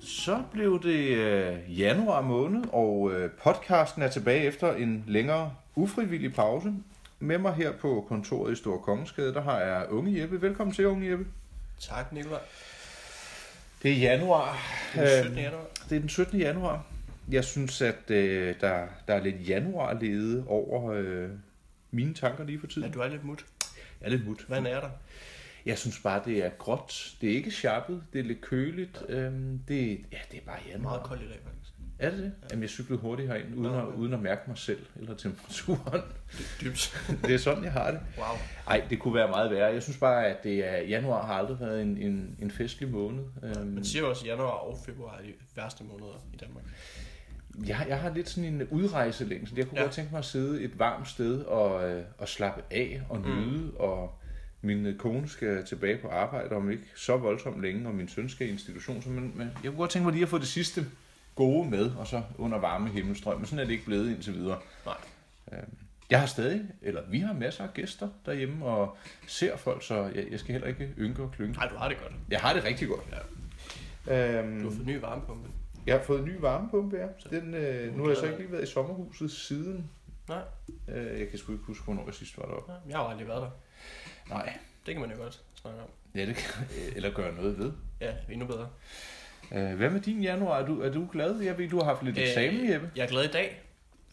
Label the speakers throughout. Speaker 1: Så blev det øh, januar måned, og øh, podcasten er tilbage efter en længere ufrivillig pause. Med mig her på kontoret i Store Kongensgade, der har jeg Unge Jeppe. Velkommen til, Unge Jeppe.
Speaker 2: Tak, Nikolaj.
Speaker 1: Det er januar. Øh,
Speaker 2: Det er
Speaker 1: Øhm,
Speaker 2: den 17. januar.
Speaker 1: Det er den 17. januar. Jeg synes, at øh, der, der er lidt januarlede over øh, mine tanker lige for
Speaker 2: Ja,
Speaker 1: tiden.
Speaker 2: du er lidt mut.
Speaker 1: Jeg er lidt mut.
Speaker 2: Hvad er der?
Speaker 1: Jeg synes bare, det er gråt. Det er ikke sjappet. Det er lidt køligt. Øhm, det, ja, det er bare
Speaker 2: Det er meget
Speaker 1: januar.
Speaker 2: koldt i dag, faktisk.
Speaker 1: Er det det? Jamen, jeg cyklede hurtigt herind, uden,
Speaker 2: Nå,
Speaker 1: at,
Speaker 2: okay.
Speaker 1: uden at mærke mig selv eller temperaturen.
Speaker 2: D- dybt.
Speaker 1: det er sådan, jeg har det.
Speaker 2: Wow.
Speaker 1: Nej, det kunne være meget værre. Jeg synes bare, at det er, januar har aldrig været en, en, en festlig måned. Øhm,
Speaker 2: Man siger jo også, at januar og februar er de værste måneder i Danmark.
Speaker 1: jeg, jeg har lidt sådan en udrejselængsel. Jeg kunne ja.
Speaker 2: Ja.
Speaker 1: godt tænke mig at sidde et varmt sted og, øh, og slappe af og
Speaker 2: Mm.
Speaker 1: nyde. Mm. Og min øh, kone skal tilbage på arbejde om ikke så voldsomt længe, og min søn skal i institution. Så man, man, jeg kunne godt tænke mig lige at få det sidste gode med, og så under varme himmelstrøm. Men sådan er det ikke blevet indtil videre.
Speaker 2: Nej.
Speaker 1: Øhm, Jeg har stadig, eller vi har masser af gæster derhjemme og ser folk, så jeg, jeg skal heller ikke ynke og klynke.
Speaker 2: Nej, du har det godt.
Speaker 1: Jeg har det rigtig godt. Ja. Øhm,
Speaker 2: Du har fået ny varmepumpe.
Speaker 1: jeg har fået en ny varmepumpe, ja. Den, øh, nu har jeg så
Speaker 2: glad.
Speaker 1: ikke lige været i sommerhuset siden.
Speaker 2: Nej.
Speaker 1: Øh, jeg kan sgu ikke huske, hvornår jeg sidst var deroppe.
Speaker 2: Nej, jeg har jo aldrig været der.
Speaker 1: Nej,
Speaker 2: Det kan man jo godt snakke om.
Speaker 1: ja, det kan, eller gøre noget ved.
Speaker 2: Ja, endnu bedre.
Speaker 1: Øh, hvad med din januar? Er du, er du glad? Jeg ved, du har haft lidt øh, eksamen, Jeppe.
Speaker 2: Jeg er glad i dag,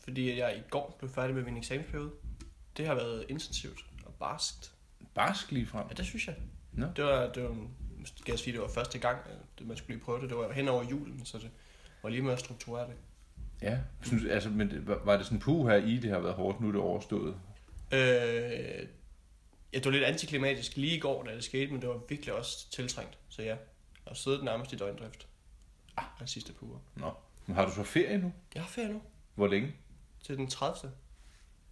Speaker 2: fordi jeg i går blev færdig med min eksamensperiode. Det har været intensivt og barskt.
Speaker 1: Barsk lige frem.
Speaker 2: Ja, det synes jeg.
Speaker 1: Nå.
Speaker 2: Det var, det var, en- skal jeg sige, det var første gang, at man skulle lige prøve det. Det var hen over julen, så det var lige med at strukturere det.
Speaker 1: Ja. Synes, altså, men det- var var det sådan, puh her i, det har været hårdt, nu er det overstået?
Speaker 2: Øh, ja, det var lidt antiklimatisk lige i går, da det skete, men det var virkelig også tiltrængt. Så ja, jeg har siddet nærmest i døgndrift. Ah, den sidste par uger.
Speaker 1: Nå. Men har du så ferie nu?
Speaker 2: Jeg har ferie nu,
Speaker 1: Hvor længe?
Speaker 2: til den 30.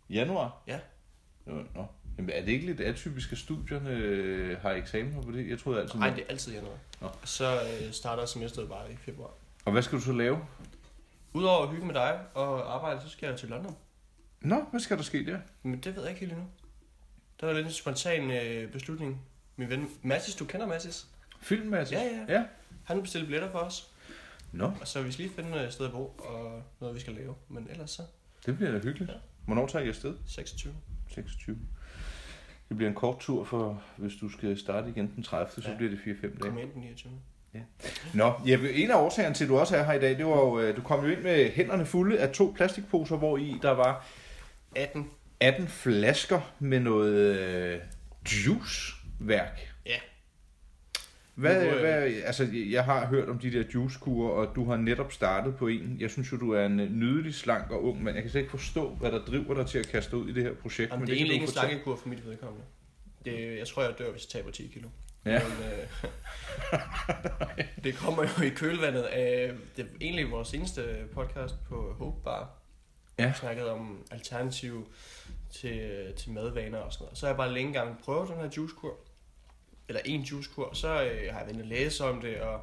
Speaker 1: Januar?
Speaker 2: Ja.
Speaker 1: Nå, Nå. Jamen, er det ikke lidt atypisk, at studierne øh, har eksamener på det? Jeg troede altid...
Speaker 2: Nej, det er altid januar.
Speaker 1: Nå.
Speaker 2: Og så øh, starter semesteret bare i februar.
Speaker 1: Og hvad skal du så lave?
Speaker 2: Udover at hygge med dig og arbejde, så skal jeg til London.
Speaker 1: Nå, hvad skal der ske der?
Speaker 2: Men det ved jeg ikke helt endnu. Det var lidt en spontan øh, beslutning. Min ven Mathis, du kender Mathis?
Speaker 1: Film, altså?
Speaker 2: Ja, ja.
Speaker 1: Ja.
Speaker 2: Han bestilte billetter for os,
Speaker 1: Nå,
Speaker 2: og så vi skal lige finde øh, et sted at bo og noget, vi skal lave. Men ellers så
Speaker 1: det bliver da hyggeligt.
Speaker 2: Ja.
Speaker 1: Hvornår tager I afsted?
Speaker 2: 26.
Speaker 1: 26. Det bliver en kort tur, for hvis du skal starte igen den 30., så
Speaker 2: Ja.
Speaker 1: bliver det 4-5 dage.
Speaker 2: Kom ind den 29.
Speaker 1: Nå, Jeppe, en af årsagerne til, at du også er her i dag, det var jo, øh, du kom jo ind med hænderne fulde af to plastikposer, hvor i der var
Speaker 2: 18.
Speaker 1: 18 flasker med noget øh, juiceværk.
Speaker 2: Ja.
Speaker 1: Hvad,
Speaker 2: Nu, øh,
Speaker 1: hvad, altså, jeg har hørt om de der juicekurer, og du har netop startet på en. Jeg synes jo, du er en øh, nydelig, slank og ung mand. Jeg kan slet ikke forstå, hvad der driver dig til at kaste dig ud i det her projekt.
Speaker 2: Jamen,
Speaker 1: kan
Speaker 2: det, er egentlig
Speaker 1: du
Speaker 2: ikke en
Speaker 1: fortælle.
Speaker 2: slankekur for mit vedkommende. Det, jeg tror, jeg dør, hvis jeg taber 10 kilo.
Speaker 1: Ja.
Speaker 2: Men, øh, det kommer jo i kølvandet af det, er egentlig vores seneste podcast på Hope Bar.
Speaker 1: Ja.
Speaker 2: Vi snakkede om alternativ til, til madvaner og sådan noget. Så har jeg bare længe gang prøvet den her juicekur. Eller en juicekur. Så øh, har jeg vendt at læse om det, og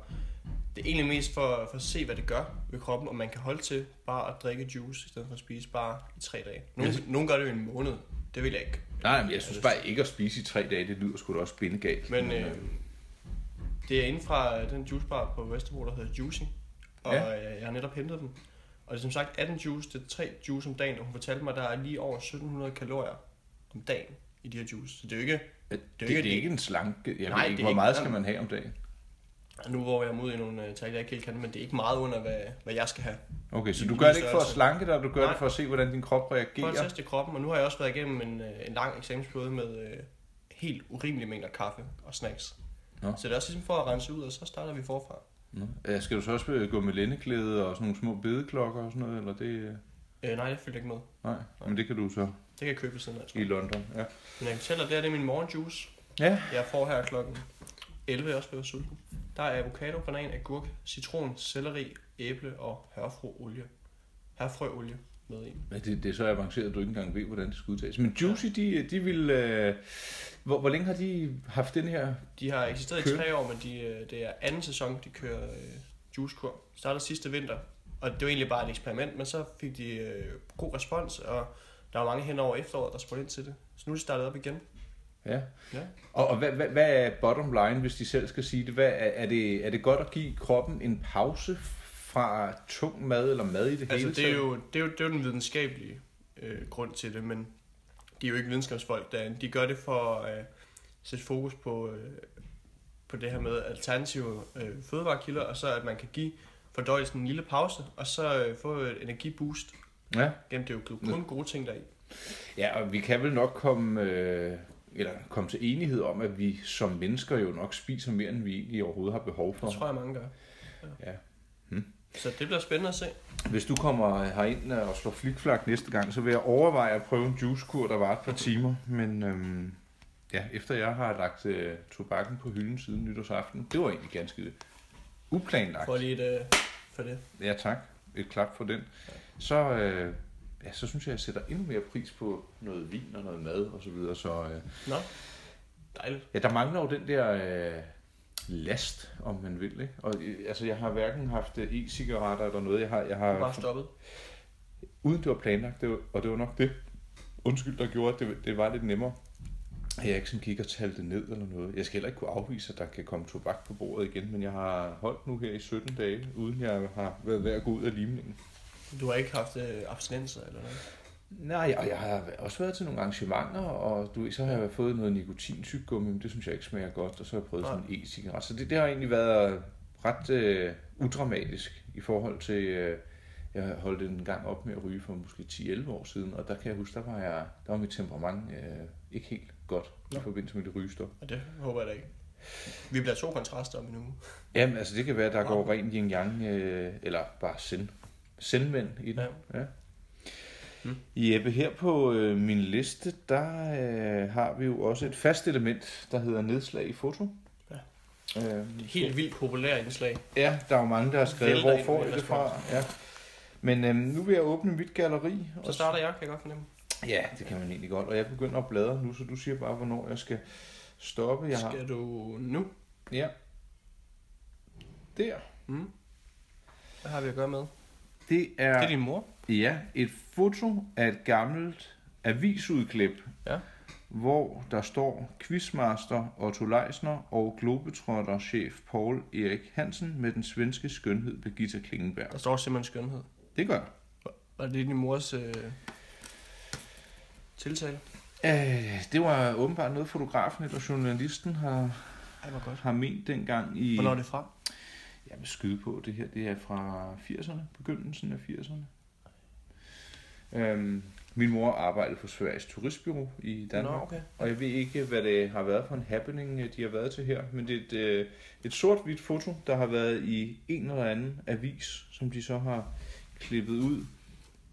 Speaker 2: det er egentlig mest for, for at se, hvad det gør ved kroppen, om man kan holde til bare at drikke juice, i stedet for at spise bare i tre dage. Nogle,
Speaker 1: Jeg
Speaker 2: nogle gør det jo i en måned. Det vil jeg ikke.
Speaker 1: Nej, men jeg synes bare ikke at spise i tre dage, det lyder sgu da også bindegalt.
Speaker 2: Men øh, det er inden fra den juicebar på Vesterbro, der hedder Juicy. Og
Speaker 1: Ja.
Speaker 2: ja. jeg har netop hentet den. Og det er som sagt 18 juice, det er 3 juice om dagen, og hun fortalte mig, at der er lige over 1700 kalorier om dagen i de her juice. Så det er jo ikke...
Speaker 1: det, det,
Speaker 2: ikke-
Speaker 1: det er ikke en slanke. Jeg
Speaker 2: Nej,
Speaker 1: Nej, ved
Speaker 2: det
Speaker 1: ikke,
Speaker 2: er
Speaker 1: hvor
Speaker 2: ikke-
Speaker 1: meget skal man have om dagen?
Speaker 2: og Nu hvor jeg er ude i nogle øh, tal, jeg ikke helt kan, men det er ikke meget under, hvad, hvad jeg skal have.
Speaker 1: Okay, så
Speaker 2: I
Speaker 1: du
Speaker 2: min
Speaker 1: gør det ikke for at
Speaker 2: størrelse.
Speaker 1: slanke dig, du gør
Speaker 2: Nej.
Speaker 1: det for at se, hvordan din krop
Speaker 2: For at
Speaker 1: reagerer.
Speaker 2: teste kroppen, og nu har jeg også været igennem en, øh, en lang eksamensperiode med øh, helt urimelige mængder kaffe og snacks.
Speaker 1: Nå.
Speaker 2: Så det er også ligesom for at rense ud, og så starter vi forfra.
Speaker 1: Nå. Øh, Skal du så også øh, gå med lændeklæde og sådan nogle små bedeklokker og sådan noget, eller det... øh,
Speaker 2: Øh, nej, det følger ikke med.
Speaker 1: Nej, men det kan du så
Speaker 2: Det kan jeg købe ved siden af, tror
Speaker 1: i
Speaker 2: jeg.
Speaker 1: London. Ja.
Speaker 2: Men jeg kan fortælle dig, det her det er min morgenjuice.
Speaker 1: ja.
Speaker 2: Jeg får her klokken 11, jeg også blevet sulten. Der er avocado, banan, agurk, citron, selleri, æble og hørfrøolie. Hørfrøolie med i.
Speaker 1: Men det, det er så avanceret, at du ikke engang ved, hvordan det skal udtages. Men Juicy, de, de vil... Øh, hvor, hvor længe har de haft den her...
Speaker 2: De har eksisteret i
Speaker 1: Kød.
Speaker 2: tre år, men de, øh, det er anden sæson, de kører øh, juicekur. Startede sidste vinter, og det var egentlig bare et eksperiment, men så fik de øh, god respons, og der var mange hen over efteråret, der spurgte ind til det. Så nu er de startet op igen.
Speaker 1: Ja.
Speaker 2: Ja.
Speaker 1: Og, og hvad, hvad, hvad er bottom line, hvis de selv skal sige det? Hvad, er, er det? Er det godt at give kroppen en pause fra tung mad eller mad i det
Speaker 2: Altså,
Speaker 1: hele
Speaker 2: det er, jo, det, er jo, det er jo den videnskabelige øh, grund til det, men de er jo ikke videnskabsfolk derinde. De gør det for at øh, sætte fokus på, øh, på det her med alternative øh, fødevarekilder, og så at man kan give fordøjelsen en lille pause, og så øh, få et energiboost.
Speaker 1: Ja.
Speaker 2: Gennem det er jo kun gode ting deri.
Speaker 1: Ja, og vi kan vel nok komme, øh, eller komme til enighed om, at vi som mennesker jo nok spiser mere, end vi egentlig overhovedet har behov for.
Speaker 2: Det tror jeg, mange gør.
Speaker 1: Ja.
Speaker 2: Hmm. Så det bliver spændende at se.
Speaker 1: Hvis du kommer herind og slår flikflak næste gang, så vil jeg overveje at prøve en juicekur, der var et par timer. Men øhm, ja, efter jeg har lagt øh, tobakken på hylden siden nytårsaften, det var egentlig ganske uplanlagt.
Speaker 2: Prøv lige et, øh, for det.
Speaker 1: Ja tak, et klap for den. Så, øh, ja, så synes jeg, jeg sætter endnu mere pris på noget vin og noget mad osv. Så, videre. så øh,
Speaker 2: Nå, dejligt.
Speaker 1: Ja, der mangler jo den der øh, last, om man vil. Ikke? Og, øh, altså, jeg har hverken haft øh, e-cigaretter eller noget. Jeg har, jeg
Speaker 2: Du er bare
Speaker 1: har
Speaker 2: stoppet.
Speaker 1: uden det var planlagt, det var, og det var nok det, undskyld, der gjorde, at det, det var lidt nemmere. Jeg har ikke sådan gik og talte det ned eller noget. Jeg skal heller ikke kunne afvise, at der kan komme tobak på bordet igen, men jeg har holdt nu her i 17 dage, uden jeg har været ved at gå ud af limningen.
Speaker 2: Du har ikke haft øh, abstinenser eller noget?
Speaker 1: Nej, og jeg har også været til nogle arrangementer, og du ved, så har jeg fået noget nikotintyggegummi, men det synes jeg ikke smager godt, og så har jeg prøvet sådan en e-cigaret. Så det, det har egentlig været ret øh, udramatisk i forhold til, øh, jeg holdt en gang op med at ryge for måske 10-11 år siden, og der kan jeg huske, der var, jeg, der var mit temperament øh, ikke helt godt i
Speaker 2: Nå.
Speaker 1: forbindelse med det rygestop.
Speaker 2: Og det håber jeg da ikke. Vi bliver to kontraster om en uge.
Speaker 1: Jamen, altså det kan være, der
Speaker 2: Nå.
Speaker 1: går ren yin-yang, øh, eller bare sind. Sindmænd i det. Ja.
Speaker 2: Mm.
Speaker 1: Jeppe, her på øh, min liste, der øh, har vi jo også et fast element, der hedder nedslag i foto.
Speaker 2: Ja.
Speaker 1: Øh,
Speaker 2: Helt vildt populære indslag.
Speaker 1: Ja, der er jo mange, der har skrevet,
Speaker 2: Vælter
Speaker 1: hvor
Speaker 2: ind
Speaker 1: får
Speaker 2: med
Speaker 1: jeg det fra? Ja. Men øh, nu vil jeg åbne mit galleri.
Speaker 2: Så starter jeg, kan jeg godt fornemme.
Speaker 1: Ja, det kan man egentlig godt. Og jeg begynder at bladre nu, så du siger bare, hvornår jeg skal stoppe. Jeg har...
Speaker 2: Skal du nu?
Speaker 1: Ja. Der.
Speaker 2: Mm. Hvad har vi at gøre med?
Speaker 1: Det er...
Speaker 2: Ja. Det er din mor.
Speaker 1: Ja, et foto af et gammelt avisudklip,
Speaker 2: Ja.
Speaker 1: hvor der står quizmaster Otto Leisner og globetrotterchef Paul Erik Hansen med den svenske skønhed Birgitta Klingenberg.
Speaker 2: Der står simpelthen skønhed.
Speaker 1: Det gør jeg.
Speaker 2: Var det din mors øh, tiltale?
Speaker 1: Øh, det var åbenbart noget, fotografen eller journalisten har,
Speaker 2: Ej, hvor godt.
Speaker 1: har ment dengang i...
Speaker 2: Hvornår er det fra?
Speaker 1: Jeg vil skyde på, det her det er fra 80'erne, begyndelsen af 80'erne. Øhm, min mor arbejdede på Sveriges Turistbyrå i Danmark.
Speaker 2: Nå, okay.
Speaker 1: Og jeg ved ikke, hvad det har været for en happening, øh, de har været til her, men det er et, øh, et sort-hvidt foto, der har været i en eller anden avis, som de så har klippet ud.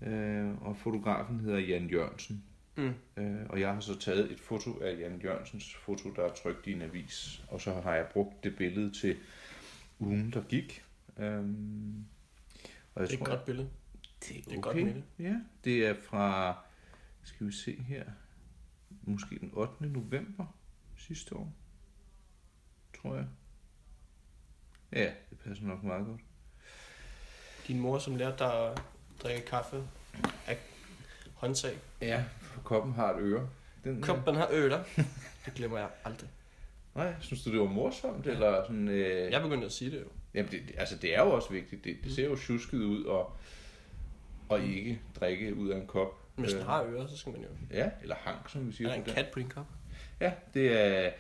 Speaker 1: Øh, og fotografen hedder Jan Jørgensen.
Speaker 2: Mm.
Speaker 1: Øh, og jeg har så taget et foto af Jan Jørgensens foto, der er trygt i en avis. Og så har jeg brugt det billede til ugen, der gik. Øhm, og jeg
Speaker 2: Det er et godt billede.
Speaker 1: det er, okay.
Speaker 2: Det er godt minde.
Speaker 1: Ja, det er fra, skal vi se her, måske den 8. november sidste år, tror jeg. Ja, det passer nok meget godt.
Speaker 2: Din mor, som lærte dig at drikke kaffe af håndtag.
Speaker 1: Ja, for koppen har et øre. Den, øh,
Speaker 2: Koppen har øler. Det glemmer jeg aldrig.
Speaker 1: Nej, synes du, det var morsomt? Eller sådan, øh,
Speaker 2: Jeg begyndte at sige det jo.
Speaker 1: Jamen, det, det- altså, det er jo også vigtigt.
Speaker 2: Mm.
Speaker 1: Det, det ser jo tjusket ud og, og ikke drikke ud af en kop.
Speaker 2: Hvis den
Speaker 1: Øh,
Speaker 2: har ører, så skal man jo...
Speaker 1: Ja, eller hang, som vi
Speaker 2: Er
Speaker 1: siger.
Speaker 2: der
Speaker 1: på
Speaker 2: en
Speaker 1: dansk.
Speaker 2: kat på din kop?
Speaker 1: Ja, det er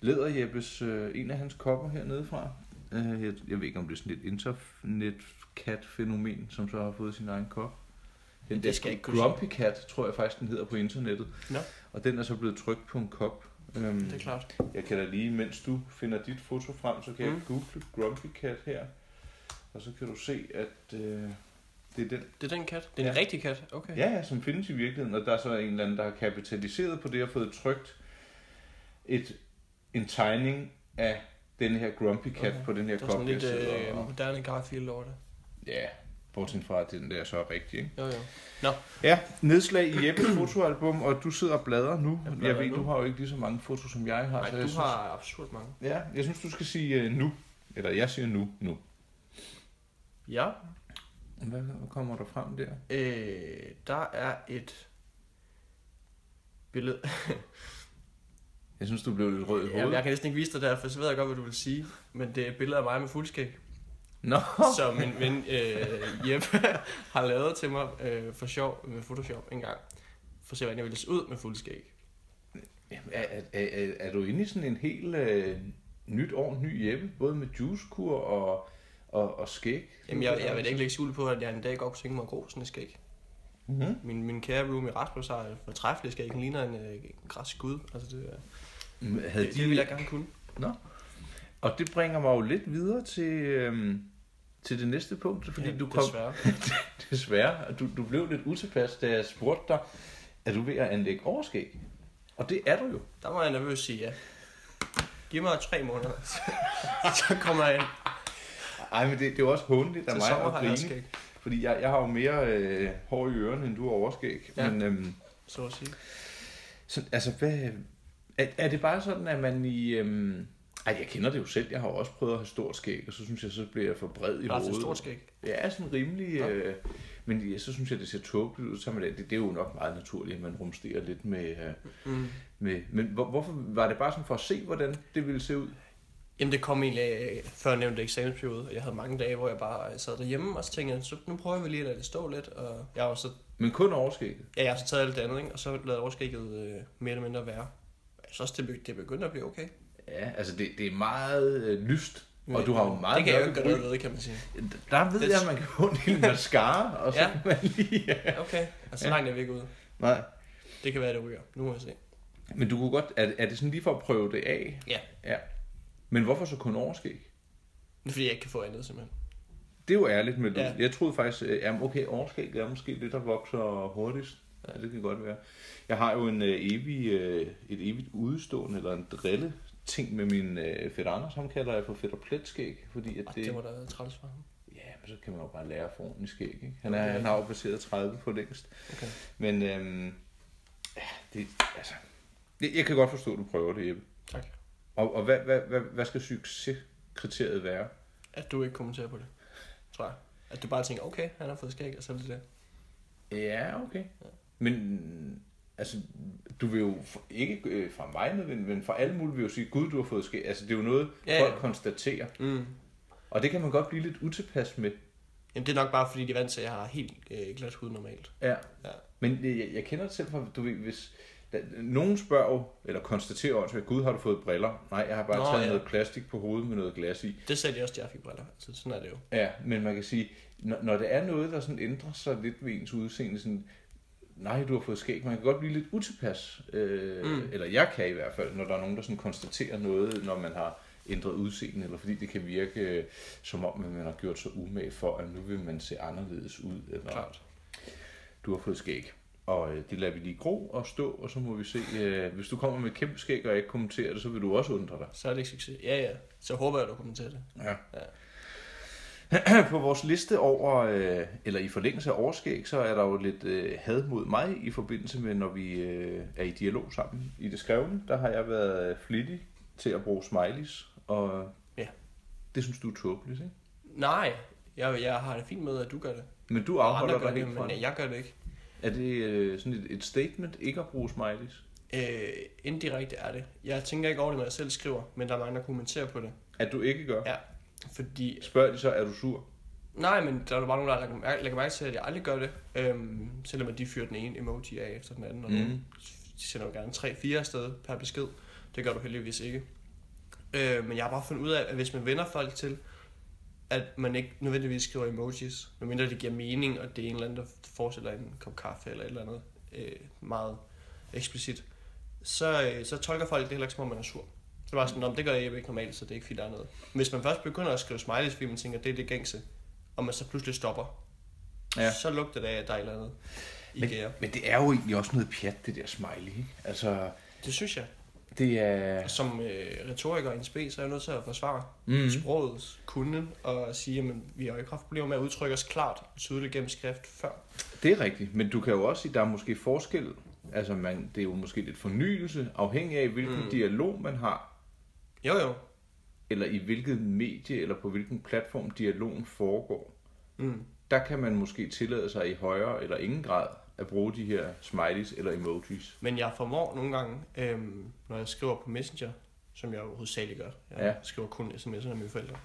Speaker 1: Leder Jeppes, øh, en af hans kopper hernede fra. Øh, jeg, jeg ved ikke, om det er sådan et internet-cat-fænomen, som så har fået sin egen kop. Den
Speaker 2: Det
Speaker 1: der
Speaker 2: skal jeg ikke kunne
Speaker 1: Grumpy Cat, tror jeg faktisk, den hedder på internettet.
Speaker 2: Nå.
Speaker 1: Og den er så blevet trykt på en kop. Øhm,
Speaker 2: Det er klart.
Speaker 1: jeg kan da lige, mens du finder dit foto frem, så kan mm. jeg
Speaker 2: Mm.
Speaker 1: google Grumpy Cat her. Og så kan du se, at øh, det er den
Speaker 2: Det er den kat. Det er en
Speaker 1: Ja.
Speaker 2: rigtig kat. Okay.
Speaker 1: Ja, ja, som findes i virkeligheden, og der er så en eller anden, der har kapitaliseret på det og fået trykt et, en tegning af den her Grumpy Cat okay.
Speaker 2: Okay.
Speaker 1: på den her
Speaker 2: Der
Speaker 1: kop,
Speaker 2: er sådan
Speaker 1: jeg
Speaker 2: lidt
Speaker 1: sidder
Speaker 2: øh,
Speaker 1: og...
Speaker 2: moderne Garfield over det.
Speaker 1: Ja, bortset fra, at den der så er rigtig, ikke?
Speaker 2: Jo, jo.
Speaker 1: Ja, nedslag i Jeppes fotoalbum, og du sidder og bladrer nu.
Speaker 2: Jeg
Speaker 1: Jeg,
Speaker 2: bladrer
Speaker 1: ved,
Speaker 2: nu.
Speaker 1: du har jo ikke lige så mange fotos, som jeg har.
Speaker 2: Nej,
Speaker 1: så
Speaker 2: du
Speaker 1: jeg
Speaker 2: har absurd mange.
Speaker 1: Synes, ja, jeg synes, du skal sige øh, nu. Eller jeg siger nu, nu.
Speaker 2: Ja,
Speaker 1: Hvad kommer der frem der?
Speaker 2: øh, der er et billede
Speaker 1: Jeg synes, du blev lidt rød i
Speaker 2: Jamen,
Speaker 1: hovedet.
Speaker 2: jeg kan næsten ikke vise dig derfor, så ved jeg godt, hvad du vil sige. Men det er et billede af mig med fuldskæg,
Speaker 1: Nå,
Speaker 2: som min ven øh, Jeppe har lavet til mig øh, for sjov med Photoshop en gang. For at se, hvordan jeg ville se ud med fuldskæg.
Speaker 1: Jamen, er, er, er, er du inde i sådan en helt øh, nyt år, ny Jeppe? Både med juicekur og, og, og skæg?
Speaker 2: Jamen, jeg, jeg vil ikke lægge skjul på, at jeg en dag godt kunne tænke mig at gro sådan et skæg.
Speaker 1: Mm-hmm.
Speaker 2: Min, min kære roomie Rasmus har et fortræffeligt skæg. Han ligner en øh, græsk gud. Altså, det, øh,
Speaker 1: Havde
Speaker 2: det,
Speaker 1: de...
Speaker 2: det ville jeg gerne kunne.
Speaker 1: Og det bringer mig jo lidt videre til, øhm, til det næste punkt, fordi ja, du kom
Speaker 2: Desværre.
Speaker 1: desværre, og du, du blev lidt utilpas, da jeg spurgte dig, er du ved at anlægge overskæg? Og det er du jo.
Speaker 2: Der må jeg nervøst sige ja. Giv mig tre måneder, så kommer jeg ind.
Speaker 1: Ej, men det, det er jo også håndligt af
Speaker 2: Til
Speaker 1: mig
Speaker 2: sommer
Speaker 1: at
Speaker 2: har jeg
Speaker 1: grine,
Speaker 2: skæg,
Speaker 1: fordi jeg, jeg har jo mere øh, hår i ørerne, end du har overskæg. Ja.
Speaker 2: Ja.
Speaker 1: Men øhm,
Speaker 2: så at sige.
Speaker 1: så, altså, hvad, er, er det bare sådan, at man i... Øhm, ej, jeg kender det jo selv. Jeg har jo også prøvet at have stort skæg, og så synes jeg, så bliver jeg for bred i
Speaker 2: Der er
Speaker 1: hovedet.
Speaker 2: altså et stort skæg.
Speaker 1: Ja, sådan rimelig...
Speaker 2: Nå.
Speaker 1: Øh, men ja, så synes jeg, det ser tåbeligt ud. Så er man, det, det er jo nok meget naturligt, at man rumsterer lidt med... Øh,
Speaker 2: Mm.
Speaker 1: med men hvor, hvorfor var det bare sådan for at se, hvordan det ville se ud?
Speaker 2: Jamen det kom egentlig af før nævnte eksamensperiode, og jeg havde mange dage, hvor jeg bare øh, sad derhjemme, og så tænkte jeg, så nu prøver vi lige at lade det stå lidt, og jeg har jo så,
Speaker 1: Men kun overskægget.
Speaker 2: ja, jeg har så taget alt det andet, ikke? og så lavede overskægget øh, mere eller mindre være. Jeg synes også, det, begy- det begyndte at blive okay.
Speaker 1: Ja, altså det, det er meget øh, lyst. Og du har jo meget
Speaker 2: Det kan jeg jo
Speaker 1: mørke
Speaker 2: ikke gøre
Speaker 1: bryn.
Speaker 2: noget ved, kan man sige.
Speaker 1: Der ved
Speaker 2: Det-
Speaker 1: jeg, at man kan få en lille mascara, og så
Speaker 2: Ja.
Speaker 1: kan man lige...
Speaker 2: Okay, og så langt er vi ikke ude.
Speaker 1: Nej.
Speaker 2: Det kan være, det ryger. Nu må jeg se.
Speaker 1: Men du kunne godt... Er, er det sådan lige for at prøve det af?
Speaker 2: Ja.
Speaker 1: Ja. Men hvorfor så kun overskæg?
Speaker 2: Det er fordi, jeg ikke kan få andet, simpelthen.
Speaker 1: Det er jo ærligt med det. Ja.
Speaker 2: Ja.
Speaker 1: Jeg troede faktisk, øh, jamen okay, overskæg er måske det, der vokser hurtigst. Ja, det kan godt være. Jeg har jo en øh, evig, øh, et evigt udstående, eller en drille ting med min øh, fætter Anders, ham kalder jeg for fætter pletskæg, fordi at
Speaker 2: Og
Speaker 1: det...
Speaker 2: det var da træls for ham.
Speaker 1: Ja, men så kan man jo bare lære for ordentligt skæg, ikke? Han, er,
Speaker 2: Okay.
Speaker 1: han har jo passeret 30 på længst.
Speaker 2: Okay.
Speaker 1: Men øhm, ja, det, altså, det, jeg kan godt forstå, at du prøver det, Jeppe.
Speaker 2: Tak.
Speaker 1: Og, og hvad, hvad, hvad, hvad skal succeskriteriet være?
Speaker 2: At du ikke kommenterer på det, tror jeg. At du bare tænker, okay, han har fået skæg, og så er det det.
Speaker 1: Ja, okay. Men altså, du vil jo f- ikke øh, fra mig nødvendigvis, men fra alle mulige vil jo sige, gud, du har fået skæg. Altså, det er jo noget,
Speaker 2: Ja,
Speaker 1: ja,
Speaker 2: ja.
Speaker 1: folk konstaterer.
Speaker 2: Mm.
Speaker 1: Og det kan man godt blive lidt utilpas med.
Speaker 2: Jamen, det er nok bare, fordi de er vant til, at jeg har helt øh, glat hud normalt.
Speaker 1: Ja.
Speaker 2: Ja.
Speaker 1: Men øh, jeg, jeg kender det selv fra, du ved, hvis da, nogen spørger, jo, eller konstaterer også, at gud, har du fået briller? Nej, jeg har bare
Speaker 2: Nå,
Speaker 1: Nå, taget ja.
Speaker 2: ja.
Speaker 1: noget plastik på hovedet med noget glas i.
Speaker 2: Det sagde de også, at jeg fik briller. Altså, sådan er det jo.
Speaker 1: Ja, men man kan sige, når, når det er noget, der sådan ændrer sig lidt ved ens udseende, sådan, nej, du har fået skæg, man kan godt blive lidt utilpas. Øh, mm.
Speaker 2: Mm.
Speaker 1: Eller jeg kan i hvert fald, når der er nogen, der sådan konstaterer noget, når man har ændret udseende, eller fordi det kan virke øh, som om, at man har gjort sig umage for, at nu vil man se anderledes ud, eller
Speaker 2: Klart.
Speaker 1: du har fået skæg. Og øh, det lader vi lige gro og stå, og så må vi se. Øh, hvis du kommer med et kæmpe skæg, og jeg ikke kommenterer det, så vil du også undre dig.
Speaker 2: Så er det ikke succes. Ja, ja. Så håber jeg, at du kommenterer det.
Speaker 1: Ja.
Speaker 2: Ja.
Speaker 1: På vores liste over, øh, eller i forlængelse af overskæg, så er der jo lidt øh, had mod mig i forbindelse med, når vi øh, er i dialog sammen. I det skrevne, der har jeg været øh, flittig til at bruge smileys, og
Speaker 2: Ja.
Speaker 1: det synes du er tåbeligt, ikke?
Speaker 2: Nej, jeg, jeg har det fint med, at du gør det.
Speaker 1: Men du
Speaker 2: Og andre
Speaker 1: afholder
Speaker 2: gør
Speaker 1: dig
Speaker 2: det,
Speaker 1: helt fra
Speaker 2: men
Speaker 1: det.
Speaker 2: jeg gør det ikke.
Speaker 1: Er det øh, sådan et, et statement ikke at bruge smileys?
Speaker 2: Øh, indirekte er det. Jeg tænker ikke over det, når jeg selv skriver, men der er mange, der kommenterer på det.
Speaker 1: At du ikke gør?
Speaker 2: Ja. Fordi
Speaker 1: Spørger de så, er du sur?
Speaker 2: Nej, men der er jo bare nogen, der lægger mærke, lægger mærke til, at jeg aldrig gør det. Øhm, selvom at de fyrer den ene emoji af efter den anden. Og
Speaker 1: Mm.
Speaker 2: mm. De sender jo gerne 3-4 afsted per besked. Det gør du heldigvis ikke. Øh, men jeg har bare fundet ud af, at hvis man vender folk til, at man ikke nødvendigvis skriver emojis, medmindre det giver mening, og det er en eller anden, der forestiller en kop kaffe eller et eller andet øh, meget eksplicit, så, øh, så tolker folk det heller ikke, som om man er sur. Så det var sådan, "Nå, men det gør jeg ikke normalt, så det er ikke fordi, der er noget. Hvis man først begynder at skrive smileys, fordi man tænker, det er det gængse, og man så pludselig stopper,
Speaker 1: Ja.
Speaker 2: ja. så lugter det af, at der er et eller andet i
Speaker 1: Men-
Speaker 2: gære.
Speaker 1: Men det er jo egentlig også noget pjat, det der smiley, ikke? Altså,
Speaker 2: Det synes jeg.
Speaker 1: det er...
Speaker 2: Og Som øh, retoriker i en spe, så er jeg nødt til at forsvare
Speaker 1: Mm.
Speaker 2: sprogets kunde og sige, at vi har jo ikke haft problemer med at udtrykke os klart og tydeligt gennem skrift før.
Speaker 1: Det er rigtigt, men du kan jo også sige, at der er måske forskel. Altså, man, det er jo måske lidt fornyelse, afhængig af, hvilken mm.
Speaker 2: Mm.
Speaker 1: dialog man har,
Speaker 2: Jo jo.
Speaker 1: eller i hvilket medie, eller på hvilken platform dialogen foregår.
Speaker 2: Mm.
Speaker 1: Der kan man måske tillade sig i højere eller ingen grad at bruge de her smileys eller emojis.
Speaker 2: Men jeg formår nogle gange, øhm, når jeg skriver på Messenger, som jeg jo hovedsageligt gør. Jeg
Speaker 1: Ja.
Speaker 2: ja. skriver kun sms'er af mine forældre.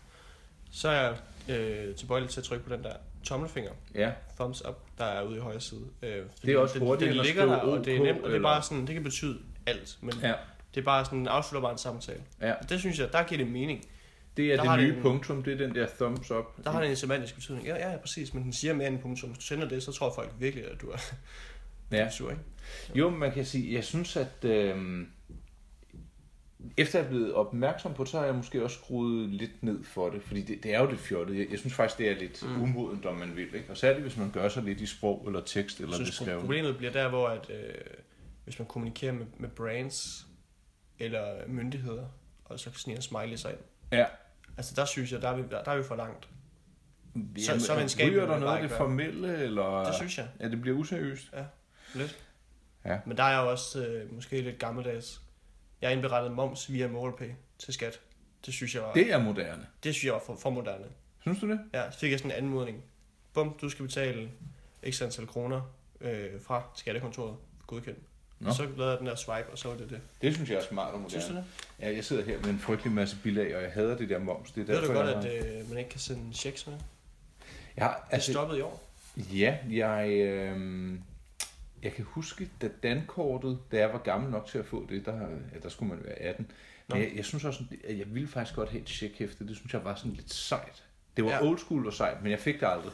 Speaker 2: Så er jeg øh, tilbøjelig til at trykke på den der tommelfinger,
Speaker 1: Ja,
Speaker 2: thumbs up, der er ude i højre side. Øh,
Speaker 1: Det er også hurtigere
Speaker 2: det,
Speaker 1: end
Speaker 2: det
Speaker 1: at
Speaker 2: ligger
Speaker 1: skrive
Speaker 2: der, og det er
Speaker 1: OK,
Speaker 2: nemt, og det, er
Speaker 1: eller-
Speaker 2: bare sådan, det kan betyde alt. Men
Speaker 1: ja.
Speaker 2: det er bare sådan, afslutter bare en samtale.
Speaker 1: Ja.
Speaker 2: Og det synes jeg, der giver det mening.
Speaker 1: Det er
Speaker 2: Der
Speaker 1: der
Speaker 2: har
Speaker 1: det nye
Speaker 2: det en-
Speaker 1: punktum, det er den der thumbs up.
Speaker 2: Der har det en semantisk betydning. Ja, ja, præcis, men den siger mere end punktum. Hvis du sender det, så tror folk virkelig, at du er
Speaker 1: Ja.
Speaker 2: sur, ikke?
Speaker 1: Jo, men man kan sige, jeg synes, at øh, efter jeg er blevet opmærksom på det, så har jeg måske også skruet lidt ned for det, fordi det, det er jo lidt fjollet. Jeg, jeg synes faktisk, det er lidt mm. umodent, om man vil. Ikke? Og særligt, hvis man gør sig lidt i sprog eller tekst eller
Speaker 2: Jeg
Speaker 1: det
Speaker 2: synes, pro-
Speaker 1: skrevet.
Speaker 2: problemet bliver der, hvor at, øh, hvis man kommunikerer med, med brands eller myndigheder, og så sniger smiley sig ind.
Speaker 1: Ja.
Speaker 2: Altså der synes jeg, der er vi, der er vi for langt.
Speaker 1: Jamen, øh,
Speaker 2: så venskabeligt
Speaker 1: Ryger
Speaker 2: vil
Speaker 1: der
Speaker 2: jeg
Speaker 1: noget af
Speaker 2: bare
Speaker 1: det
Speaker 2: ikke
Speaker 1: formelle, eller
Speaker 2: Det synes jeg.
Speaker 1: ja, det bliver useriøst?
Speaker 2: Lidt.
Speaker 1: Ja.
Speaker 2: Men der er jeg jo også øh, måske lidt gammeldags. Jeg indberettede moms via MobilePay til skat. Det synes jeg var, det,
Speaker 1: Det er moderne.
Speaker 2: det synes jeg var for, for moderne.
Speaker 1: Synes du det?
Speaker 2: Ja, så fik jeg sådan en anmodning. Bum, du skal betale x antal kroner øh, fra skattekontoret. Godkendt.
Speaker 1: Nå.
Speaker 2: Nå. Så lavede jeg den der swipe, og så var det det.
Speaker 1: Det synes jeg er smart og moderne.
Speaker 2: Synes du det?
Speaker 1: Ja, jeg sidder her med en frygtelig masse bilag, og jeg hader det der moms. Det er
Speaker 2: Ved
Speaker 1: derfor,
Speaker 2: du godt,
Speaker 1: jeg, har-
Speaker 2: at øh, man ikke kan sende checks med?
Speaker 1: jeg har,
Speaker 2: Det altså, stoppede i år.
Speaker 1: Ja, jeg, øh, jeg kan huske, da dankortet, da jeg var gammel nok til at få det, der, ja, der skulle man være 18.
Speaker 2: Nå.
Speaker 1: Men jeg, jeg synes også, at jeg ville faktisk godt have et checkhæfte. Det synes jeg var sådan lidt sejt. Det var ja.
Speaker 2: Ja.
Speaker 1: old school og sejt, men jeg fik det aldrig.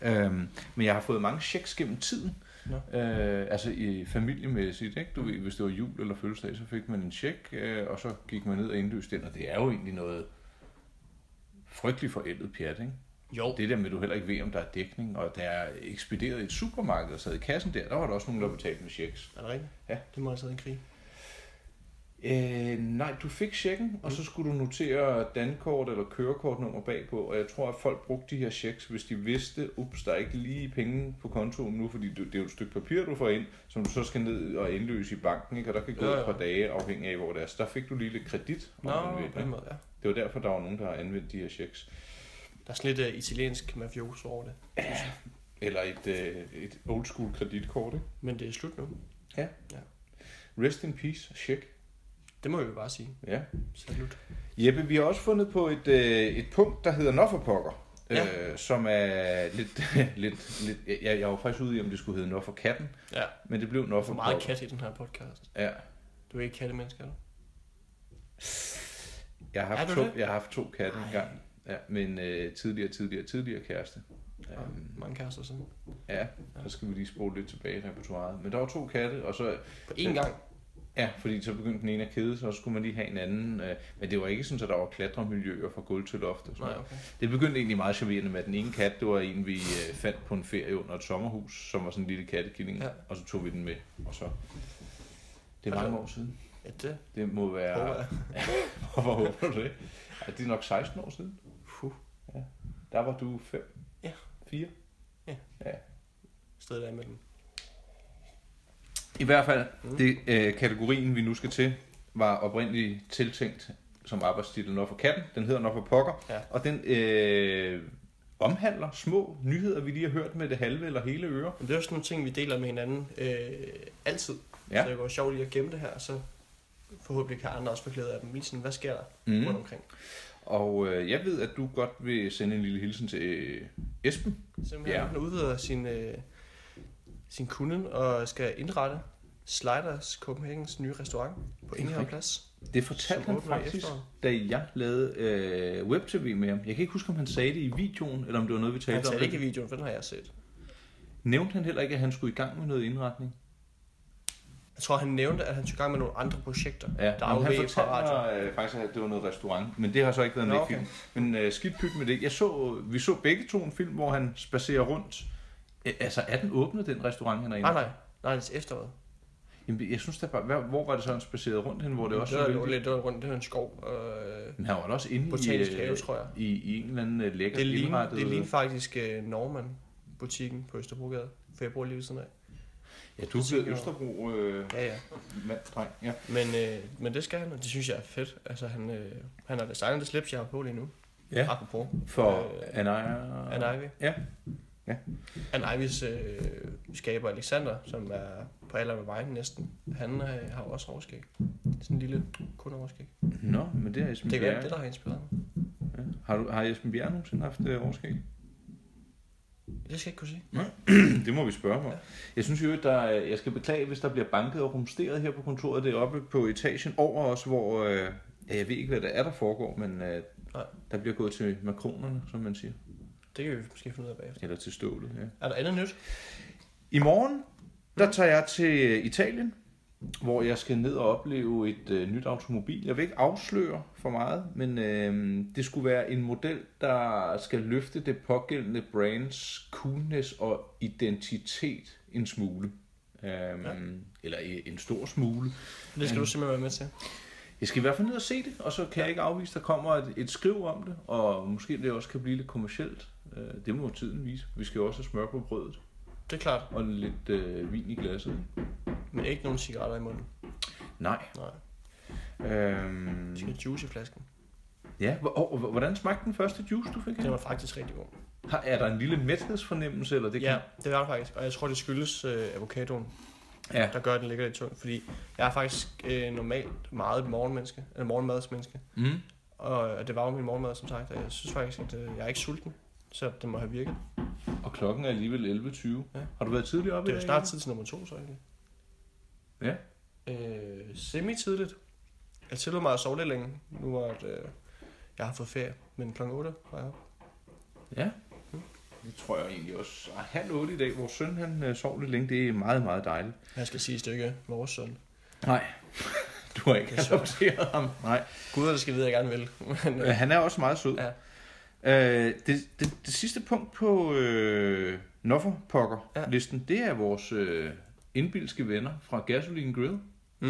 Speaker 1: Øhm, men jeg har fået mange checks gennem tiden. Øh, altså i familiemæssigt, ikke? Du ved, hvis det var jul eller fødselsdag, så fik man en check, øh, og så gik man ned og indløste den, og det er jo egentlig noget frygteligt forældet pjat, ikke?
Speaker 2: Jo.
Speaker 1: Det der med, at du heller ikke ved, om der er dækning, og der er ekspederet i et supermarked og sad i kassen der, der var der også nogen, der betalte med checks.
Speaker 2: Er det rigtigt?
Speaker 1: Ja.
Speaker 2: Det må have taget en krig.
Speaker 1: Øh, nej, du fik checken, og så skulle du notere dankort eller kørekortnummer bagpå, og jeg tror, at folk brugte de her checks, hvis de vidste, ups, der er ikke lige penge på kontoen nu, fordi du- det er jo et stykke papir, du får ind, som du så skal ned og indløse i banken, ikke? og der kan gå
Speaker 2: Ja,
Speaker 1: et
Speaker 2: ja.
Speaker 1: par dage, afhængig af, hvor det er. Så der fik du lige lidt kredit, om
Speaker 2: Nå,
Speaker 1: man vil,
Speaker 2: på den
Speaker 1: ikke?
Speaker 2: måde, ja.
Speaker 1: Det var derfor, der var nogen, der har anvendt de her checks.
Speaker 2: Der er sådan lidt uh, italiensk mafioso over det.
Speaker 1: Eller et, øh, et old school kreditkort, ikke?
Speaker 2: Men det er slut nu.
Speaker 1: Rest in peace, check.
Speaker 2: Det må vi jo bare sige.
Speaker 1: Ja.
Speaker 2: Salut.
Speaker 1: Jeppe, vi har også fundet på et, øh, et punkt, der hedder Nofferpokker. Ja.
Speaker 2: Ja.
Speaker 1: Øh, som er lidt, lidt, lidt jeg, jeg var faktisk ude i, om det skulle hedde Nofferkatten,
Speaker 2: Ja,
Speaker 1: men det blev
Speaker 2: der er for meget
Speaker 1: Nofferpokker.
Speaker 2: kat i den her podcast.
Speaker 1: Ja,
Speaker 2: Du er ikke kattemenneske, er du?
Speaker 1: jeg har, haft
Speaker 2: Er
Speaker 1: to,
Speaker 2: du
Speaker 1: jeg har haft to katte
Speaker 2: Ej.
Speaker 1: engang, ja, men øh, tidligere, tidligere, tidligere kæreste.
Speaker 2: Ja.
Speaker 1: Øhm,
Speaker 2: Mange kærester sådan.
Speaker 1: ja, så skal vi lige spole lidt tilbage i repertoireet. Men der var to katte, og så
Speaker 2: På én gang.
Speaker 1: Ja, fordi så begyndte den ene at kede sig, og så skulle man lige have en anden. Øh, men det var ikke sådan, at der var klatremiljøer fra gulv til loft. Og sådan
Speaker 2: Nej,
Speaker 1: noget.
Speaker 2: okay.
Speaker 1: Det begyndte egentlig meget charmerende med, at den ene kat, det var en, vi øh, fandt på en ferie under et sommerhus, som var sådan en lille kattekilling, ja.
Speaker 2: Ja.
Speaker 1: og så tog vi den med, og så... Det er
Speaker 2: Hold da
Speaker 1: mange
Speaker 2: op.
Speaker 1: år siden.
Speaker 2: Ja, det
Speaker 1: Det må
Speaker 2: ja. håber
Speaker 1: være...
Speaker 2: jeg.
Speaker 1: Hvorfor håber du det? Ja, det er nok 16 år siden.
Speaker 2: Puh.
Speaker 1: Der var du 5?
Speaker 2: Ja.
Speaker 1: 4?
Speaker 2: Stedet der imellem.
Speaker 1: I hvert fald,
Speaker 2: Mm.
Speaker 1: det øh, kategorien, vi nu skal til, var oprindeligt tiltænkt som arbejdstitel Når for katten. Den hedder Når for pokker.
Speaker 2: Ja.
Speaker 1: Og den øh, omhandler små nyheder, vi lige har hørt med det halve eller hele øre.
Speaker 2: Men det er jo sådan nogle ting, vi deler med hinanden øh, altid.
Speaker 1: Ja.
Speaker 2: Så det går sjovt lige at gemme det her, og så forhåbentlig kan andre også få glæde af dem. Lige sådan, hvad sker der
Speaker 1: Mm.
Speaker 2: rundt omkring?
Speaker 1: Og øh, jeg ved, at du godt vil sende en lille hilsen til øh, Esben.
Speaker 2: Simpelthen,
Speaker 1: Ja.
Speaker 2: ja. han udvider sin, øh, sin kunden og skal indrette Sliders Copenhagens nye restaurant på
Speaker 1: Det er
Speaker 2: Ingehavn
Speaker 1: rigtigt.
Speaker 2: Plads.
Speaker 1: Det fortalte
Speaker 2: Som
Speaker 1: han
Speaker 2: åbner i
Speaker 1: faktisk,
Speaker 2: efteråret.
Speaker 1: da jeg lavede øh, web-tv med ham. Jeg kan ikke huske, om han sagde det i videoen, eller om det var noget, vi talte
Speaker 2: Han
Speaker 1: om.
Speaker 2: tager ikke i
Speaker 1: det.
Speaker 2: videoen, for Altså, den har jeg set.
Speaker 1: Nævnte han heller ikke, at han skulle i gang med noget indretning?
Speaker 2: Jeg tror, han nævnte, at han skulle i gang med nogle andre projekter.
Speaker 1: Ja,
Speaker 2: der
Speaker 1: men han
Speaker 2: afveg fra
Speaker 1: fortalte
Speaker 2: radio.
Speaker 1: mig, øh, faktisk, at det var noget restaurant, men det har så ikke været en
Speaker 2: Nå,
Speaker 1: okay. film. Men øh, skidt pyt med det. Jeg så, vi så begge to en film, hvor han spacerer rundt. Øh, altså, er den åbnet, den restaurant, han er inde?
Speaker 2: Nej, nej. Nej, det er til efteråret.
Speaker 1: Jamen, jeg synes da bare, hvad- hvor var det så, han spacerede rundt hen, hvor det også
Speaker 2: det var
Speaker 1: så vildt?
Speaker 2: lidt det var rundt, det var en skov. Og, øh,
Speaker 1: Men han var da også inde
Speaker 2: botanisk
Speaker 1: i, øh,
Speaker 2: have, tror jeg.
Speaker 1: i, i en eller anden øh, lækker
Speaker 2: Det ligner,
Speaker 1: indrettet...
Speaker 2: det ligner faktisk øh, Norman butikken på Østerbrogade, for jeg bor lige ved siden af.
Speaker 1: Ja, du er blevet
Speaker 2: Tænker-
Speaker 1: øh, Østerbro øh,
Speaker 2: Ja, ja.
Speaker 1: mand, dreng. Ja.
Speaker 2: Men, øh, men det skal han, og det synes jeg er fedt. Altså, han, øh, han har designet det slips, jeg har på lige nu.
Speaker 1: Ja.
Speaker 2: Apropos.
Speaker 1: For
Speaker 2: Øh,
Speaker 1: Anaya...
Speaker 2: Anna Ivy.
Speaker 1: Ja. Ja.
Speaker 2: Anne Ivis øh, skaber Alexander, som er på alder med mig næsten, han øh, har jo også overskæg. Sådan en lille kun overskæg.
Speaker 1: Nå, men det er Esben
Speaker 2: Det kan være
Speaker 1: Bjerre.
Speaker 2: det, der har inspireret mig.
Speaker 1: Ja. Har, du, har Esben Bjerre nogensinde haft øh, overskæg?
Speaker 2: Det skal jeg ikke kunne sige.
Speaker 1: det må vi spørge om.
Speaker 2: Ja.
Speaker 1: Jeg synes jo, at der, er- jeg skal beklage, hvis der bliver banket og rumsteret her på kontoret. Det er oppe på etagen over os, hvor... Øh, ja, jeg ved ikke, hvad der er, der foregår, men øh,
Speaker 2: Nej.
Speaker 1: der bliver gået til makronerne, som man siger.
Speaker 2: Det kan vi måske finde ud af bagefter.
Speaker 1: Eller til stålet, ja.
Speaker 2: Er der andet nyt?
Speaker 1: I morgen, der tager jeg til Italien, hvor jeg skal ned og opleve et øh, nyt automobil. Jeg vil ikke afsløre for meget, men øh, det skulle være en model, der skal løfte det pågældende brands coolness og identitet en smule. Øhm, ja. Eller øh, en stor smule.
Speaker 2: Det skal
Speaker 1: Mm.
Speaker 2: du simpelthen være med til.
Speaker 1: Jeg skal i hvert fald ned og se det, og så kan ja. jeg ikke afvise, at der kommer et, et skriv om det, og måske det også kan blive lidt kommercielt. Øh, det må tiden vise. Vi skal jo også have smør på brødet
Speaker 2: Det er klart.
Speaker 1: og lidt øh, vin i glasset.
Speaker 2: Men ikke nogen cigaretter i munden.
Speaker 1: Nej.
Speaker 2: Nej.
Speaker 1: Øhm,
Speaker 2: Vi skal have juice i flasken.
Speaker 1: ja, hvor- og, og hvordan smagte den første juice, du fik?
Speaker 2: Den
Speaker 1: her?
Speaker 2: var faktisk rigtig god.
Speaker 1: Har, er der en lille mæthedsfornemmelse, eller det
Speaker 2: Det
Speaker 1: kan...
Speaker 2: ja, det var det faktisk. Og jeg tror, det skyldes øh, avocadoen,
Speaker 1: ja.
Speaker 2: der gør, at den ligger lidt tungt. Fordi jeg er faktisk øh, normalt meget et morgenmenneske, eller morgenmadsmenneske.
Speaker 1: Mm.
Speaker 2: Og, og det var jo min morgenmad, som sagt. Og jeg synes faktisk, at øh, jeg er ikke sulten. Så det må have virket.
Speaker 1: Og klokken er alligevel 11.20.
Speaker 2: Ja.
Speaker 1: Har du været tidligt oppe
Speaker 2: Det er jo
Speaker 1: i dag,
Speaker 2: snart
Speaker 1: Jacob?
Speaker 2: tid til nummer to, så egentlig.
Speaker 1: Ja.
Speaker 2: Øh, semi-tidligt. Jeg tillod mig at sove lidt længe, nu hvor at, øh, jeg har fået ferie. Men klokken 8 var jeg oppe.
Speaker 1: Ja. Det tror jeg egentlig også. Ej, halv otte i dag. Vores søn, han øh, sov lidt længe. Det er meget, meget dejligt.
Speaker 2: Jeg skal sige et stykke vores søn.
Speaker 1: Nej. Du har ikke
Speaker 2: Det er sjovt.
Speaker 1: adopteret ham. Nej.
Speaker 2: Gud, der skal vide, at jeg gerne vil. Men,
Speaker 1: Øh,
Speaker 2: øh,
Speaker 1: Han er også meget sød.
Speaker 2: Ja.
Speaker 1: Øh, det, det, det sidste punkt på øh, Nofferpokker-listen, ja. det er vores øh, indbilske venner fra Gasoline Grill.
Speaker 2: mm,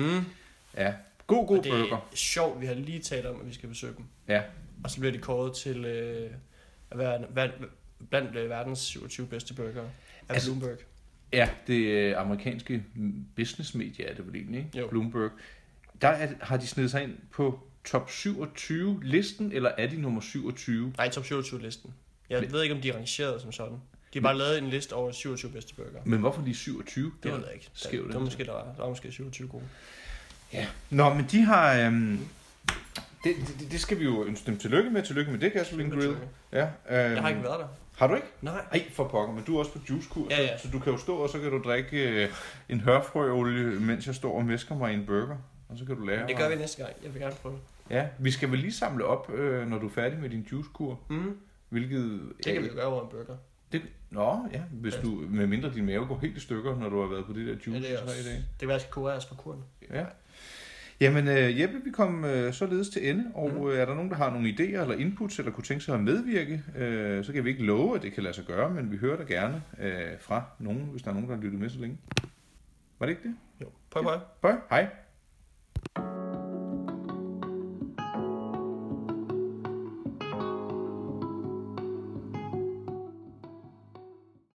Speaker 1: Ja, god,
Speaker 2: og
Speaker 1: god
Speaker 2: det
Speaker 1: burger.
Speaker 2: er sjovt, vi har lige talt om, at vi skal besøge dem.
Speaker 1: Ja.
Speaker 2: Og så bliver de kåret til øh, at være, være, blandt øh, verdens 27 bedste burgere. Af
Speaker 1: Altså-
Speaker 2: altså, Bloomberg.
Speaker 1: Ja, det øh, amerikanske businessmedie er det vel egentlig, ikke?
Speaker 2: Jo.
Speaker 1: Bloomberg. Der er, har de snedet sig ind på top 27 listen, eller er de nummer 27?
Speaker 2: Nej, top 27 listen. Jeg
Speaker 1: Men-
Speaker 2: ved ikke, om de er rangeret som sådan. De har bare lavet en liste over 27 bedste burgere.
Speaker 1: Men hvorfor lige 27?
Speaker 2: Det ved jeg ikke. Der,
Speaker 1: skævt,
Speaker 2: det var
Speaker 1: ikke?
Speaker 2: måske, der var, der var måske 27 gode.
Speaker 1: Ja. Nå, men de har... Øhm, det, det, det, skal vi jo ønske dem tillykke med. Tillykke med det, Gasoline Grill. Ja, øhm,
Speaker 2: Jeg har ikke været der.
Speaker 1: Har du ikke?
Speaker 2: Nej.
Speaker 1: Ej, for pokker, men du er også på juicekur,
Speaker 2: Ja, ja.
Speaker 1: Så, så du kan jo stå, og så kan du drikke øh, en hørfrøolie, mens jeg står og mesker mig i en burger. Og så kan du lære
Speaker 2: Det gør
Speaker 1: mig-
Speaker 2: vi næste gang. Jeg vil gerne prøve det.
Speaker 1: Ja, vi skal vel lige samle op, øh, når du er færdig med din juicekur.
Speaker 2: Mm.
Speaker 1: Hvilket... øh,
Speaker 2: Det kan vi jo gøre over en burger.
Speaker 1: Det, nå, ja, hvis
Speaker 2: Ja.
Speaker 1: du, med mindre din mave går helt i stykker, når du har været på det der
Speaker 2: Ja,
Speaker 1: juice
Speaker 2: det, er
Speaker 1: i
Speaker 2: også,
Speaker 1: tre dage.
Speaker 2: det kan være, jeg skal kureres fra kuren.
Speaker 1: Ja. Jamen, øh, Jeppe, vi kom øh, således til ende, og
Speaker 2: Mhm.
Speaker 1: øh, er der nogen, der har nogle idéer eller inputs, eller kunne tænke sig at medvirke, øh, så kan vi ikke love, at det kan lade sig gøre, men vi hører da gerne øh, fra nogen, hvis der er nogen, der har lyttet med så længe. Var det ikke det?
Speaker 2: Jo. Prøv, prøv.
Speaker 1: Bøj, hej.